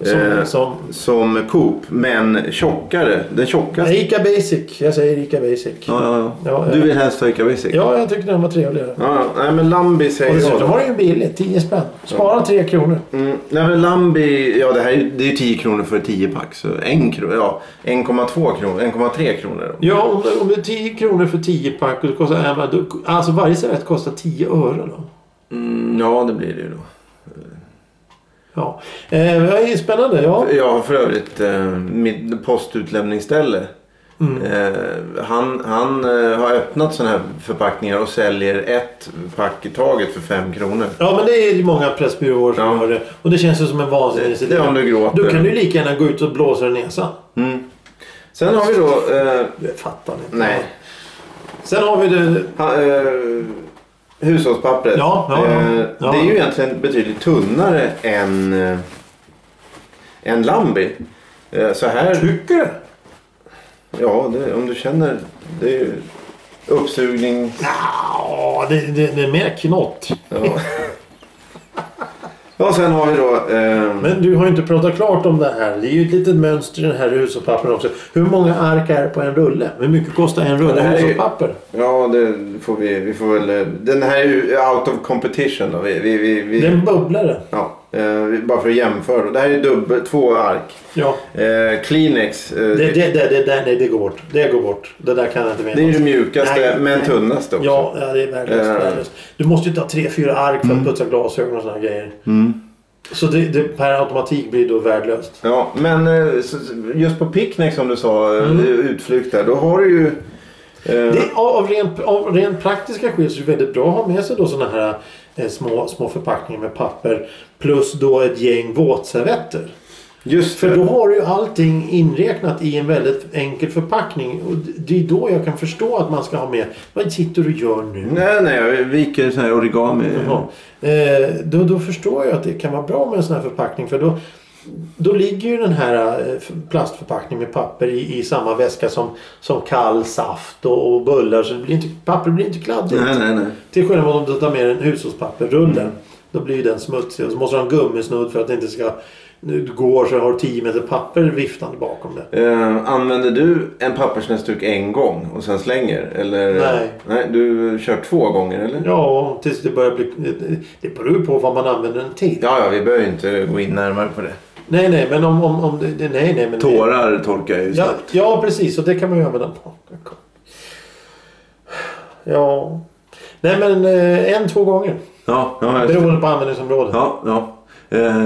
Speaker 1: som,
Speaker 2: eh,
Speaker 1: som,
Speaker 2: som Coop, men tjockare. Den tjockaste.
Speaker 1: Ica Basic. Jag säger Ica Basic. Ja,
Speaker 2: Ja, ja, ja.
Speaker 1: Ja,
Speaker 2: Du
Speaker 1: ja.
Speaker 2: vill helst ha Ica Basic?
Speaker 1: jag tyckte den var trevligare.
Speaker 2: Ja, ja. nej men Lambi
Speaker 1: Och
Speaker 2: säger jag.
Speaker 1: dessutom var
Speaker 2: då.
Speaker 1: det ju billigt. 10 spänn. Spara 3 kronor.
Speaker 2: Mm, nej men Lambi, ja det här är- det är ju 10 kronor för 10 pack. Så en kro- ja, 1,2 kronor, 1,3 kronor.
Speaker 1: Ja, om det, om det är 10 kronor för 10 pack. Och det kostar, ja, men då- alltså varje servett kostar 10 öre då.
Speaker 2: Mm, ja, det blir det ju då.
Speaker 1: Ja, eh, vad är spännande. Ja.
Speaker 2: Jag har för övrigt eh, mitt postutlämningsställe. Eh, han han eh, har öppnat sådana här förpackningar och säljer ett pack i taget för 5 kronor.
Speaker 1: ja, men det är ju många pressbyråer som
Speaker 2: Ja.
Speaker 1: gör det. Och det känns ju som en vansinnig
Speaker 2: Det är om du gråter.
Speaker 1: Då kan du lika gärna gå ut och blåsa i näsan.
Speaker 2: Sen har vi då... Eh,
Speaker 1: Det fattar inte.
Speaker 2: nej.
Speaker 1: Sen har vi det...
Speaker 2: Ha, eh, hushållspappret.
Speaker 1: Ja, ja, ja.
Speaker 2: Eh,
Speaker 1: Ja.
Speaker 2: Det är ju egentligen betydligt tunnare än, eh, än Lambi. Eh, så här,
Speaker 1: Tycker du?
Speaker 2: ja det, om du känner. Det är ju uppsugning.
Speaker 1: Ja, det, det, det är mer knott.
Speaker 2: Ja. Och sen har vi då... Eh,
Speaker 1: Men du har ju inte pratat klart om det här. Det är ju ett litet mönster i den här hushållspappren också. Hur många ark är det på en rulle? Hur mycket kostar en
Speaker 2: det
Speaker 1: rulle
Speaker 2: här är ju-
Speaker 1: hushållspapper?
Speaker 2: ja, det får vi, vi får väl... eh, Den här är ju out of competition då. Vi, vi, vi,
Speaker 1: Det är
Speaker 2: vi,
Speaker 1: en bubblare.
Speaker 2: ja, eh, vi- bara för att jämföra. då. Det här är dubbel, två ark.
Speaker 1: Ja.
Speaker 2: Eh, Kleenex. eh,
Speaker 1: Det, det, det, det, det, nej, det går bort. Det går bort. Det där kan jag inte mena.
Speaker 2: Det är ju det mjukast
Speaker 1: Nej,
Speaker 2: men
Speaker 1: nej.
Speaker 2: tunnaste också.
Speaker 1: Ja, ja, det är värdelöst.
Speaker 2: Eh.
Speaker 1: värdelöst. Du måste ju ta tre, fyra ark för
Speaker 2: Mm.
Speaker 1: att putsa glasögon och sådana grejer. Så det, det per automatik blir då värdelöst.
Speaker 2: Ja, men eh, så- så- just på picknick som du sa, eh, utflykt där, då har du ju... eh,
Speaker 1: Mm. Det, av, av, rent, av rent praktiska skäl så är det väldigt bra att ha med sig då såna här eh, små, små förpackningar med papper. Plus då ett gäng våtservetter.
Speaker 2: Just
Speaker 1: För
Speaker 2: det.
Speaker 1: då har du ju allting inräknat i en väldigt enkel förpackning. Och d- det är då jag kan förstå att man ska ha med. Vad sitter du och gör nu?
Speaker 2: Nej, nej, jag viker så här origami.
Speaker 1: Ja. Eh, då, då förstår jag att det kan vara bra med en sån här förpackning. För då, då ligger ju den här eh, f- plastförpackningen med papper i, i samma väska som, som kall saft och, och bullar. Så det blir inte, papper blir inte kladdigt.
Speaker 2: Nej, nej, nej.
Speaker 1: Till skillnad mot om du tar med en hushållspapperrulle. Då blir ju den smutsig. Och så måste du ha en gummisnodd för att det inte ska... Nu går så har du 10 meter papper viftande bakom det.
Speaker 2: Eh, använder du en pappersnäsduk en gång och sen slänger? Eller?
Speaker 1: Nej.
Speaker 2: Nej, du kör två gånger eller?
Speaker 1: Ja, tills det börjar bli... Det beror ju på vad man använder den till.
Speaker 2: Ja, ja, vi behöver ju inte gå in närmare på det.
Speaker 1: Nej, nej, men om... om, om det, det, nej, nej, men...
Speaker 2: Tårar torkar ju
Speaker 1: Ja,
Speaker 2: snabbt.
Speaker 1: ja, precis. Och det kan man ju använda på. Ja. Nej, men eh, en, två gånger.
Speaker 2: Ja, ja, just det.
Speaker 1: Beroende på användningsområdet.
Speaker 2: ja, ja. Eh,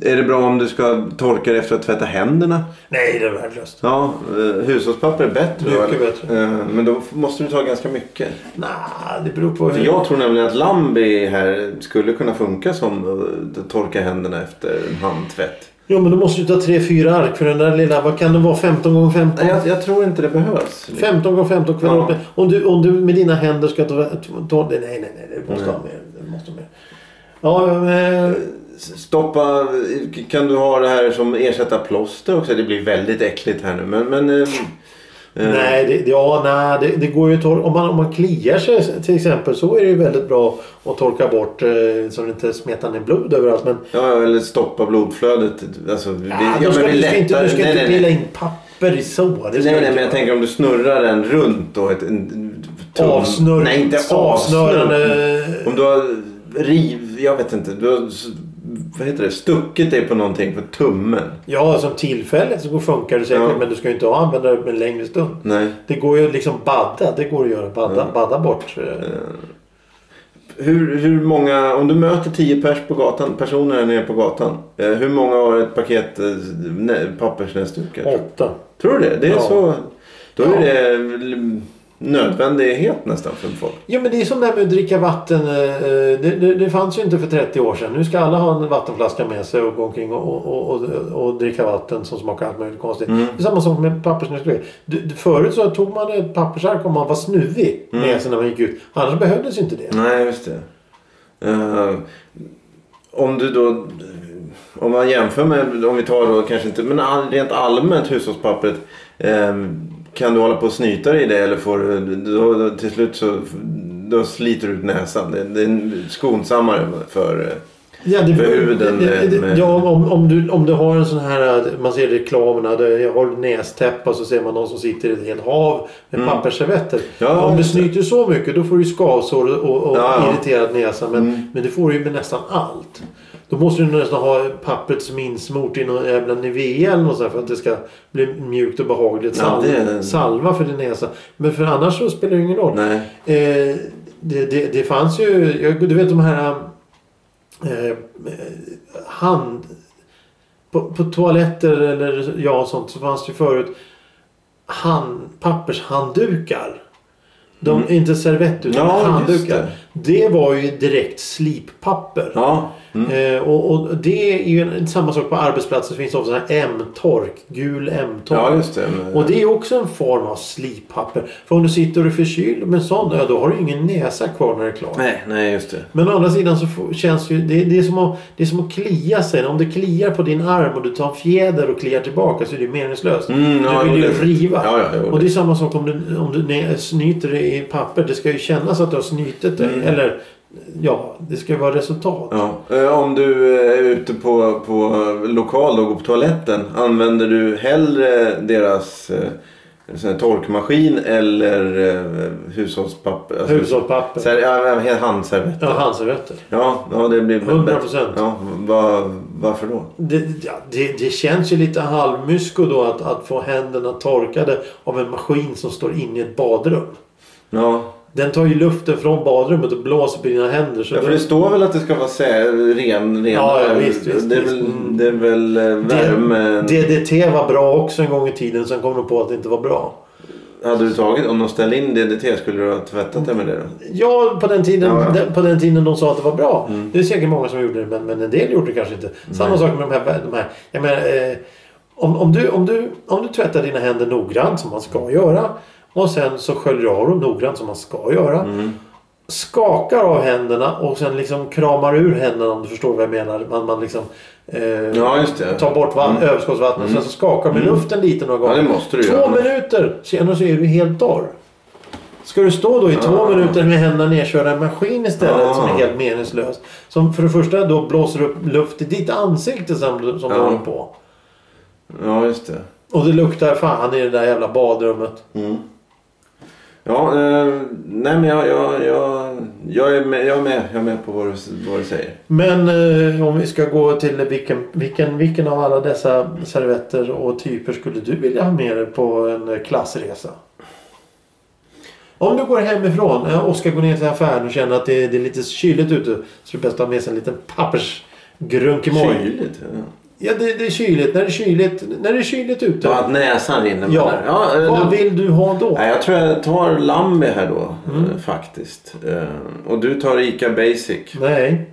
Speaker 2: är det bra om du ska torka det efter att tvätta händerna?
Speaker 1: Nej, det är värdelöst.
Speaker 2: Ja, eh, hushållspapper är bättre.
Speaker 1: Mycket
Speaker 2: eller?
Speaker 1: bättre.
Speaker 2: Eh, men då f- måste du ta ganska mycket.
Speaker 1: Nej, det beror på
Speaker 2: För
Speaker 1: hur...
Speaker 2: jag tror nämligen att Lambi här skulle kunna funka som eh, att torka händerna efter en handtvätt.
Speaker 1: Jo, men då måste du ta tre, fyra ark för den där lilla. Vad kan det vara? 15 gånger 15?
Speaker 2: Nej, jag, jag tror inte det behövs.
Speaker 1: 15 gånger 15 kvadrat.
Speaker 2: Ja.
Speaker 1: Om, du, om du med dina händer ska ta... ta nej, nej, nej. Du måste ha mer. Du måste ha mer. Ja, men, eh,
Speaker 2: Eh. Stoppa... eh, Kan du ha det här som ersätta plåster också? Det blir väldigt äckligt här nu. Men... men eh, eh,
Speaker 1: nej, det, ja, nej det, det går ju att tor- om, man, om man kliar sig till exempel så är det ju väldigt bra att torka bort eh, så det inte smetar ner blod överallt. Men
Speaker 2: Ja, eller stoppa blodflödet. Alltså, det,
Speaker 1: ja, då ska,
Speaker 2: men det
Speaker 1: du ska inte, du ska
Speaker 2: nej,
Speaker 1: inte
Speaker 2: nej,
Speaker 1: pilla
Speaker 2: nej.
Speaker 1: in papper i så. Det ska
Speaker 2: Nej,
Speaker 1: du
Speaker 2: nej,
Speaker 1: inte
Speaker 2: men jag
Speaker 1: göra.
Speaker 2: tänker om du snurrar den runt då. Ett, en, en, tum-
Speaker 1: Avsnör,
Speaker 2: Nej, inte Mm. avsnör.
Speaker 1: avsnörande...
Speaker 2: Om du har riv... Jag vet inte. Du har, s- vad heter det? Stuckit dig på någonting på tummen.
Speaker 1: Ja, som tillfälligt så går- funkar det säkert.
Speaker 2: Ja.
Speaker 1: Men du ska ju inte använda det en längre stund.
Speaker 2: Nej.
Speaker 1: Det går ju liksom badda. Det går att göra. Badda, badda bort. eh,
Speaker 2: Hur, hur många, om du möter 10 pers på gatan, personer här nere på gatan. Eh, hur många har ett paket eh, nä- pappersnäsdukar?
Speaker 1: Åtta.
Speaker 2: Tror du det? Det är
Speaker 1: Ja.
Speaker 2: så... Då är
Speaker 1: Ja.
Speaker 2: det l- nödvändighet nästan för folk.
Speaker 1: Ja men det är som det här med att dricka vatten. eh, eh, Det, det, det fanns ju inte för 30 år sedan. Nu ska alla ha en vattenflaska med sig och gå omkring och, och, och, och dricka vatten som smakar allt möjligt konstigt. Det är samma sak med pappersnäsdukar. Du- du- Förut så tog man ett pappersark om man var snuvig med sig när man gick ut. Annars behövdes ju inte det.
Speaker 2: Nej, just det. Eh, om du då... Om man jämför med, om vi tar då kanske inte, men all, rent allmänt hushållspappret. eh, kan du hålla på och snyta dig i det eller får du, då, då, till slut så då sliter du ut näsan. Det, det är skonsammare för... eh,
Speaker 1: Ja, det,
Speaker 2: För huden
Speaker 1: det, det,
Speaker 2: med-
Speaker 1: ja om, om, du, om du har en sån här, man ser reklamerna, där har du nästäpp och så ser man någon som sitter i ett helt hav med pappersservetter.
Speaker 2: Mm. Ja,
Speaker 1: om du
Speaker 2: just det.
Speaker 1: snyter så mycket då får du skavsår och, och
Speaker 2: Ja, Mm. ja.
Speaker 1: irriterad näsa. Men, men det får du ju med nästan allt. Då måste du nästan ha pappret som är insmort i någon jävla Nivea eller något sånt här för att det ska bli mjukt och behagligt.
Speaker 2: Ja,
Speaker 1: Sal-
Speaker 2: det-
Speaker 1: Salva för din näsa. Men för annars så spelar det ju ingen roll.
Speaker 2: Nej.
Speaker 1: Eh, det, det, det fanns ju, jag- du vet de här eh, eh, hand... På, på toaletter eller ja sånt så fanns det ju förut hand, pappershanddukar. De, Inte servett utan
Speaker 2: Mm. Ja, just
Speaker 1: handdukar. Det. var ju direkt slippapper.
Speaker 2: Ja. Mm.
Speaker 1: Eh, och, och det är ju en, samma sak på arbetsplatser. Det finns ofta sån här M-tork. Gul M-tork.
Speaker 2: Ja, just det. Men-
Speaker 1: Och det är också en form av slippapper. För om du sitter och är förkyld med en sån, ja, då har du ingen näsa kvar när det är klart.
Speaker 2: Nej, nej, just det.
Speaker 1: Men å andra sidan så får- känns ju, det, det, är som att, det är som att klia sig. Om det kliar på din arm och du tar en fjäder och kliar tillbaka så är det meningslöst.
Speaker 2: Mm, ja,
Speaker 1: du vill
Speaker 2: jo,
Speaker 1: ju
Speaker 2: det-
Speaker 1: riva.
Speaker 2: ja, ja, jo,
Speaker 1: och det är samma sak om du, om du nä- snyter i papper. Det ska ju kännas att du har snytit det. Eller ja, det ska ju vara resultat.
Speaker 2: Mm. Ja. Eh, Om du eh, är ute på, på eh, lokal och går på toaletten. Använder du hellre deras eh, sån här torkmaskin eller eh, hushållspapper? Alltså,
Speaker 1: Hushållspapper.
Speaker 2: ser- ja, ja, handservetter.
Speaker 1: Ja, handservetter.
Speaker 2: Ja, ja, det blir
Speaker 1: 100%.
Speaker 2: Ja, va, varför då?
Speaker 1: Det, ja, det, det känns ju lite halvmysko då att, att få händerna torkade av en maskin som står inne i ett badrum.
Speaker 2: Ja.
Speaker 1: Den tar ju luften från badrummet och blåser på dina händer. Så
Speaker 2: Ja, för
Speaker 1: då-
Speaker 2: det står väl att det ska vara sä, ren, ren
Speaker 1: Ja, ja, visst, visst,
Speaker 2: det, är
Speaker 1: visst.
Speaker 2: Väl,
Speaker 1: Mm.
Speaker 2: det är väl eh, värme.
Speaker 1: DDT var bra också en gång i tiden. Sen kom de på att det inte var bra.
Speaker 2: Hade du tagit, om de ställde in DDT, skulle du ha tvättat dig med det då?
Speaker 1: Ja, på den tiden,
Speaker 2: Ja, Mm. ja.
Speaker 1: den- På den tiden de sa att det var bra. Det är säkert många som gjorde det, men, men en del gjorde det kanske inte. Samma sak med de här... De här jag menar, eh, om, om, du, om, du, om du tvättar dina händer noggrant, som man ska göra, och sen så sköljer du av dem noggrant, som man ska göra.
Speaker 2: Mm.
Speaker 1: Skakar av händerna och sen liksom kramar ur händerna, om du förstår vad jag menar. Man, man liksom... Eh,
Speaker 2: Ja, just det.
Speaker 1: tar bort vatten, överskottsvattnet och sen så skakar du med luften lite några gånger.
Speaker 2: Ja, det måste du
Speaker 1: Två
Speaker 2: göra, annars-
Speaker 1: minuter senare så är du helt torr. Ska du stå då i två
Speaker 2: Ah.
Speaker 1: minuter med händerna nedkörda i en maskin istället
Speaker 2: Ah.
Speaker 1: som är helt meningslös. Som för det första då blåser upp luft i ditt ansikte som, som du
Speaker 2: Ja.
Speaker 1: håller på.
Speaker 2: Ja, just det.
Speaker 1: Och det luktar fan i det där jävla badrummet.
Speaker 2: Mm. Ja, eh, nej men jag, jag, jag, jag, är med, jag är med. Jag är med på vad du, vad du säger.
Speaker 1: Men eh, om vi ska gå till vilken, vilken, vilken av alla dessa servetter och typer skulle du vilja ha med dig på en eh, klassresa? Om du går hemifrån eh, och ska gå ner till affären och känner att det, det är lite kyligt ute så är det bäst att ha med sig en liten pappersgrunkemoj.
Speaker 2: Kyligt. ja.
Speaker 1: Ja, det, det är kyligt. När det är kyligt, när det är kyligt ute.
Speaker 2: Ja, att näsan rinner. med
Speaker 1: Ja.
Speaker 2: det. ja eh,
Speaker 1: Vad
Speaker 2: då-
Speaker 1: vill du ha då?
Speaker 2: Nej, jag tror jag tar Lambi här då eh, faktiskt. Eh, och du tar Ica Basic.
Speaker 1: Nej,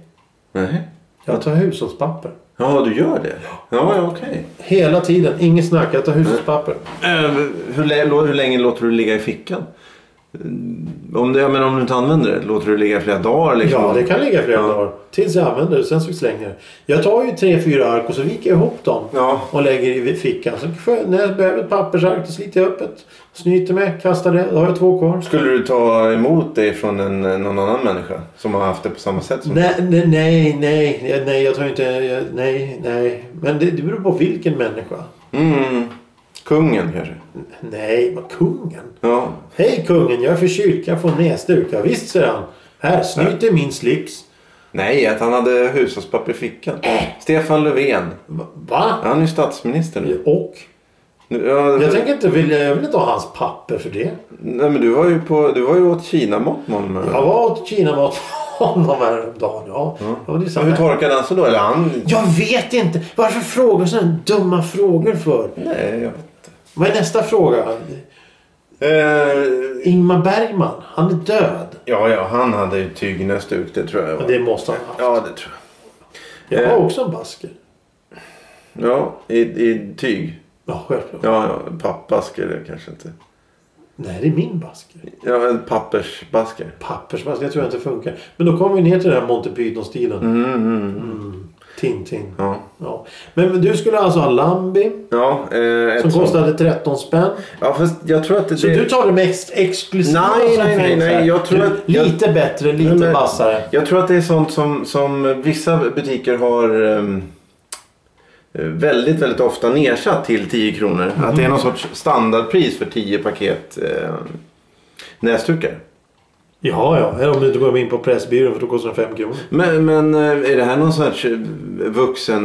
Speaker 2: Nej.
Speaker 1: jag tar hushållspapper.
Speaker 2: Ja, du gör det? Ja, ja okej.
Speaker 1: Hela tiden. Inget snack. Jag tar hushållspapper.
Speaker 2: Eh, Hur, lä- lo- hur länge låter du ligga i fickan? Eh, Om, det, jag menar, om du inte använder det, låter du ligga i flera dagar? Liksom?
Speaker 1: Ja, det kan ligga flera
Speaker 2: Ja.
Speaker 1: dagar. Tills jag använder det. Sen så slänger jag det. Jag tar ju tre, fyra ark och så viker jag ihop dem.
Speaker 2: Ja.
Speaker 1: Och lägger i fickan. Så skö- när jag behöver ett pappersark då sliter jag upp ett. Snyter mig, kastar det. Då har jag två kvar.
Speaker 2: Skulle du ta emot det från en, någon annan människa som har haft det på samma sätt? Som
Speaker 1: Nej, nej, nej, nej, jag- nej, jag tror inte, jag- nej, nej. Men det, det beror på vilken människa.
Speaker 2: Mm. Kungen kanske?
Speaker 1: Nej, vad kungen.
Speaker 2: Ja.
Speaker 1: Hej kungen, jag är förkyld. Kan jag få en näsduk? Ja, visst, säger han. Här, snyt i min slips.
Speaker 2: Nej, att han hade hushållspapper i fickan. Stefan Löfven.
Speaker 1: Va- Va?
Speaker 2: Han är ju statsminister nu.
Speaker 1: Och?
Speaker 2: Nu- Ja,
Speaker 1: Jag tänker inte vilja, jag vill inte ha hans papper för det.
Speaker 2: nej, men du var ju på, du var ju åt Kina-mat med honom.
Speaker 1: Jag var åt Kina-mat för honom häromdagen. Ja, ja det är
Speaker 2: Men Mm. Hur
Speaker 1: sant.
Speaker 2: torkade han sig då? Eller han?
Speaker 1: Jag vet inte. Varför frågar du sådana dumma frågor för?
Speaker 2: Nej, jag vet inte.
Speaker 1: Vad är nästa fråga?
Speaker 2: Eh,
Speaker 1: Ingmar Bergman, han är död.
Speaker 2: ja, ja, han hade ju tygnäsduk. Det tror jag.
Speaker 1: Ja,
Speaker 2: var.
Speaker 1: Det måste han ha haft.
Speaker 2: Ja, det tror jag.
Speaker 1: Jag
Speaker 2: eh.
Speaker 1: har också en basker.
Speaker 2: Ja, i, i tyg.
Speaker 1: Ja, självklart.
Speaker 2: Ja, ja, pappbasker det kanske inte.
Speaker 1: Nej, det är min basker.
Speaker 2: Ja, en pappersbasker.
Speaker 1: Pappersbasker, jag tror jag inte funkar. Men då kommer vi ner till den här Monty Python-stilen. Mm. Tintin.
Speaker 2: Ja.
Speaker 1: Ja. Men men du skulle alltså ha Lambi
Speaker 2: Ja, eh, ett
Speaker 1: som
Speaker 2: sånt.
Speaker 1: kostade 13 spänn.
Speaker 2: Ja, fast jag tror att det...
Speaker 1: Så du tar det mest exklusiva
Speaker 2: Nej,
Speaker 1: som
Speaker 2: nej, nej,
Speaker 1: finns
Speaker 2: nej,
Speaker 1: här.
Speaker 2: jag tror
Speaker 1: Du-
Speaker 2: att-
Speaker 1: Lite bättre, lite
Speaker 2: Nej, men-
Speaker 1: vassare.
Speaker 2: Jag tror att det är sånt som, som vissa butiker har ehm, eh, väldigt, väldigt ofta nedsatt till 10 kronor. Att det
Speaker 1: Mhm.
Speaker 2: är någon sorts standardpris för 10 paket eh, näsdukar.
Speaker 1: Ja, ja. Eller om du inte går in på Pressbyrån för då kostar den 5 kronor.
Speaker 2: Men, men eh, är det här någon sorts eh,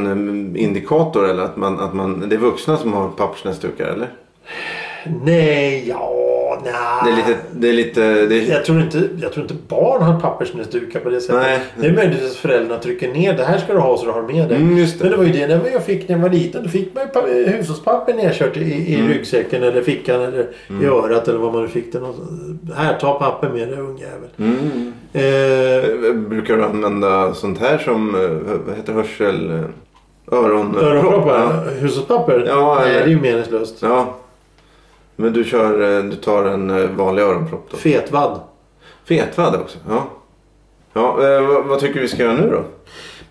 Speaker 2: vuxenindikator? Eller att, man, att man, det är vuxna som har pappersnäsdukar eller?
Speaker 1: Nej, ja, nej.
Speaker 2: Det är lite... Det är lite det är,
Speaker 1: Jag tror, inte, jag tror inte barn har pappersnäsdukar på det sättet.
Speaker 2: Nej.
Speaker 1: Det är möjligt att föräldrarna trycker ner. Det här ska du ha så du har med dig.
Speaker 2: Mm, just det.
Speaker 1: Men det var ju det när jag fick när jag var liten. Då fick man ju pa- eh, hushållspapper nedkört i, i
Speaker 2: Mm.
Speaker 1: ryggsäcken eller fickan eller i örat eller vad man nu fick det. någonstans. Här, ta papper med dig ungjävel.
Speaker 2: mm.
Speaker 1: Eh,
Speaker 2: Eh, Brukar du använda sånt här som eh, vad heter hörsel... eh, Öron... Ja.
Speaker 1: Öronproppar? Hushållspapper?
Speaker 2: Ja,
Speaker 1: Nej, det
Speaker 2: eller-
Speaker 1: är ju meningslöst.
Speaker 2: Ja. Men du kör, eh, du tar en eh, vanlig öronpropp då?
Speaker 1: Fetvadd.
Speaker 2: Fetvadd också? Ja. Ja, eh, vad, vad tycker vi ska göra nu då?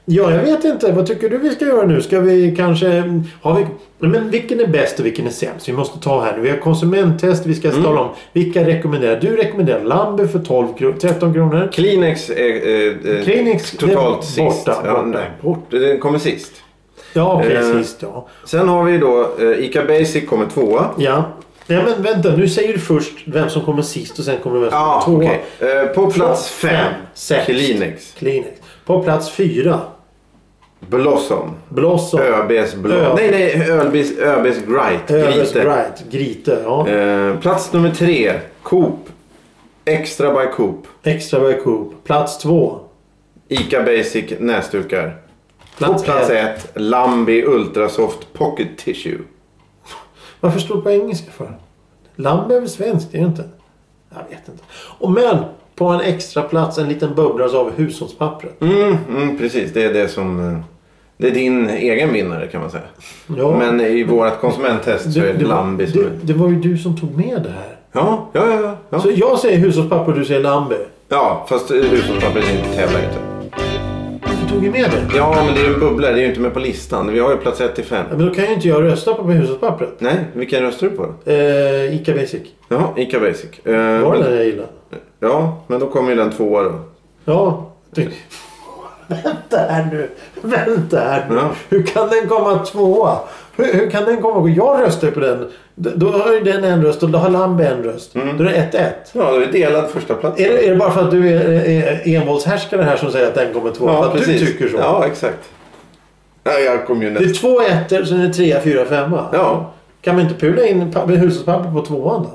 Speaker 1: Ja, jag vet inte. Vad tycker du vi ska göra nu? Ska vi kanske... Har vi, men vilken är bäst och vilken är sämst? Vi måste ta här nu. Vi har konsumenttest. Vi
Speaker 2: Mm.
Speaker 1: ska tala om vilka rekommenderar. Du rekommenderar Lambe för 12 kronor, 13 kronor.
Speaker 2: Kleenex är eh, eh,
Speaker 1: Kleenex, det är
Speaker 2: totalt
Speaker 1: borta,
Speaker 2: sist.
Speaker 1: borta,
Speaker 2: ja,
Speaker 1: borta.
Speaker 2: nej, bort. Den kommer sist.
Speaker 1: Ja, okej.
Speaker 2: Eh.
Speaker 1: Sist ja.
Speaker 2: Sen har vi då eh, Ica Basic kommer tvåa.
Speaker 1: Ja. Nej, men vänta. Nu säger du först vem som kommer sist och sen kommer vem som
Speaker 2: Ja,
Speaker 1: kommer tvåa.
Speaker 2: okej. Eh, på plats fem,
Speaker 1: Sämst.
Speaker 2: Kleenex.
Speaker 1: Kleenex. På plats fyra.
Speaker 2: Blossom.
Speaker 1: Blossom.
Speaker 2: ÖBs blå.
Speaker 1: Ö.
Speaker 2: Nej, nej. ÖBs, ÖBs Grite.
Speaker 1: Övers
Speaker 2: Grite.
Speaker 1: Bright. Grite. Ja.
Speaker 2: Eh, plats nummer tre. Coop. Extra by Coop.
Speaker 1: Extra by Coop. Plats två.
Speaker 2: Ica Basic näsdukar.
Speaker 1: Plats
Speaker 2: På plats
Speaker 1: ett.
Speaker 2: ett, Lambi Ultrasoft Pocket Tissue.
Speaker 1: Varför står det på engelska för? Lamb är väl svenskt? Det är det inte? Jag vet inte. Och men på en extra plats en liten bubblare av hushållspappret.
Speaker 2: Mm, mm, precis, det är det som... eh, Det är din egen vinnare kan man säga.
Speaker 1: Ja.
Speaker 2: Men i vårt konsumenttest så är det Lambi som
Speaker 1: det,
Speaker 2: är...
Speaker 1: det var ju du som tog med det här.
Speaker 2: Ja, ja, ja. Ja,
Speaker 1: Så jag säger hushållspapper och du säger Lambe.
Speaker 2: ja fast eh, hushållspappret inte tävlar inte.
Speaker 1: Du tog ju med det.
Speaker 2: Ja, men det är ju en bubbla. Det är ju inte med på listan. Vi har ju plats 1 till 5.
Speaker 1: Ja, men då kan ju inte jag rösta på hushållspappret.
Speaker 2: Nej, vilken röstar du på då?
Speaker 1: Eh, Ica Basic.
Speaker 2: Ja, Ica Basic. Eh,
Speaker 1: Var det
Speaker 2: men-
Speaker 1: den jag gillade?
Speaker 2: Ja, men då kommer ju den tvåa då.
Speaker 1: Ja. Det... Vänta här nu. Vänta här nu.
Speaker 2: Ja.
Speaker 1: Hur kan den komma tvåa? Hur, hur kan den komma? Jag röstar på den. D- Då har ju den en röst och då har Lambe en röst.
Speaker 2: Mm.
Speaker 1: Då är det 1-1.
Speaker 2: Ja, då är det delad första plats.
Speaker 1: Är, det- är det bara för att du är, är envåldshärskaren här som säger att den kommer tvåa? för att du tycker så?
Speaker 2: Ja, exakt. Ja, jag kom ju
Speaker 1: Det är
Speaker 2: näst.
Speaker 1: två ettor, sen är det trea, fyra, femma.
Speaker 2: Ja,
Speaker 1: Kan man inte pula in pa- hushållspapper på tvåan då?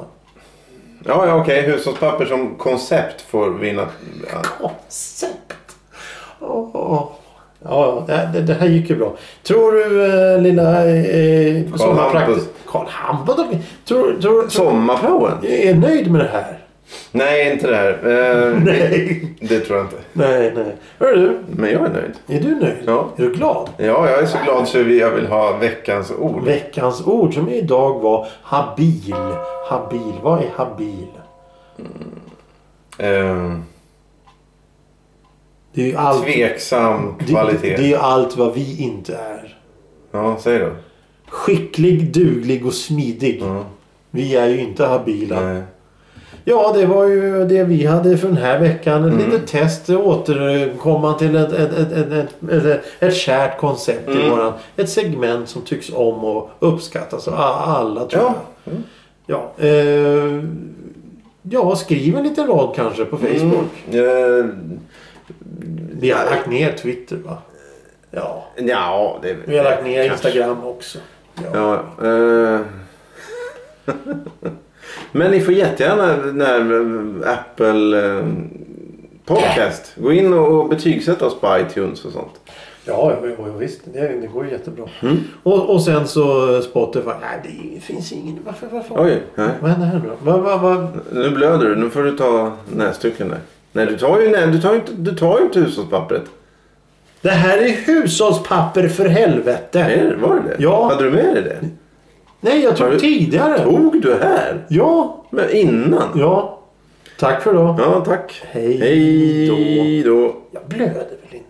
Speaker 2: ja, ja okej. Hushållspapper som koncept får vinna. Ja.
Speaker 1: Koncept! Åh. Ja, ja, det, det här gick ju bra. Tror du eh, lilla eh, sommarpraktik...
Speaker 2: Hampus.
Speaker 1: Karl Hampus. Tror, tror, tror,
Speaker 2: Sommarpraoen?
Speaker 1: är nöjd med det här?
Speaker 2: Nej, inte det här. Eh,
Speaker 1: Nej.
Speaker 2: Det tror jag inte.
Speaker 1: Nej, nej. Hör du,
Speaker 2: Men jag är nöjd.
Speaker 1: är du nöjd?
Speaker 2: Ja.
Speaker 1: Är du glad?
Speaker 2: Ja, jag är så glad så jag vill ha veckans ord.
Speaker 1: Veckans ord som idag var habil. Habil. Vad är habil?
Speaker 2: Eh,
Speaker 1: Det är ju allt,
Speaker 2: tveksam
Speaker 1: det, det är
Speaker 2: kvalitet.
Speaker 1: ju allt vad vi inte är.
Speaker 2: Ja, säg då.
Speaker 1: Skicklig, duglig och smidig.
Speaker 2: Ja.
Speaker 1: Vi är ju inte habila.
Speaker 2: Nej.
Speaker 1: Ja, det var ju det vi hade för den här veckan. Ett litet test. Återkomma till ett, ett, ett, ett, ett, ett, ett kärt koncept i våran. Ett segment som tycks om och uppskattas av alla tror
Speaker 2: Ja.
Speaker 1: jag. Ja, eh, ja, skriv en liten rad kanske på Facebook.
Speaker 2: Eh,
Speaker 1: Vi har lagt ner Twitter va? Ja.
Speaker 2: ja, det...
Speaker 1: Vi har lagt ner
Speaker 2: kanske.
Speaker 1: Instagram också. Ja.
Speaker 2: Ja, eh. Men ni får jättegärna när eh, Apple eh, Podcast. Gå in och och betygsätta oss på iTunes och sånt.
Speaker 1: Ja, jo, jo, visst. Det, det går ju jättebra. Mm. Och, och sen så Spotify. Nej, det finns ingen. Varför? varför?
Speaker 2: Oj, nej.
Speaker 1: Vad händer här nu då? Vad, vad, vad?
Speaker 2: Nu blöder du. Nu får du ta näsduken där. Nej, du tar ju, nej, du tar ju, inte, du tar ju inte hushållspappret.
Speaker 1: Det här är hushållspapper för helvete!
Speaker 2: Är det- Var det det?
Speaker 1: Ja.
Speaker 2: Hade du med dig det?
Speaker 1: Nej, jag
Speaker 2: Har
Speaker 1: tog
Speaker 2: du-
Speaker 1: tidigare.
Speaker 2: Tog du här?
Speaker 1: Ja,
Speaker 2: Men innan?
Speaker 1: ja. Tack för idag.
Speaker 2: Ja, tack.
Speaker 1: Hej
Speaker 2: Hej då.
Speaker 1: Jag blöder väl inte?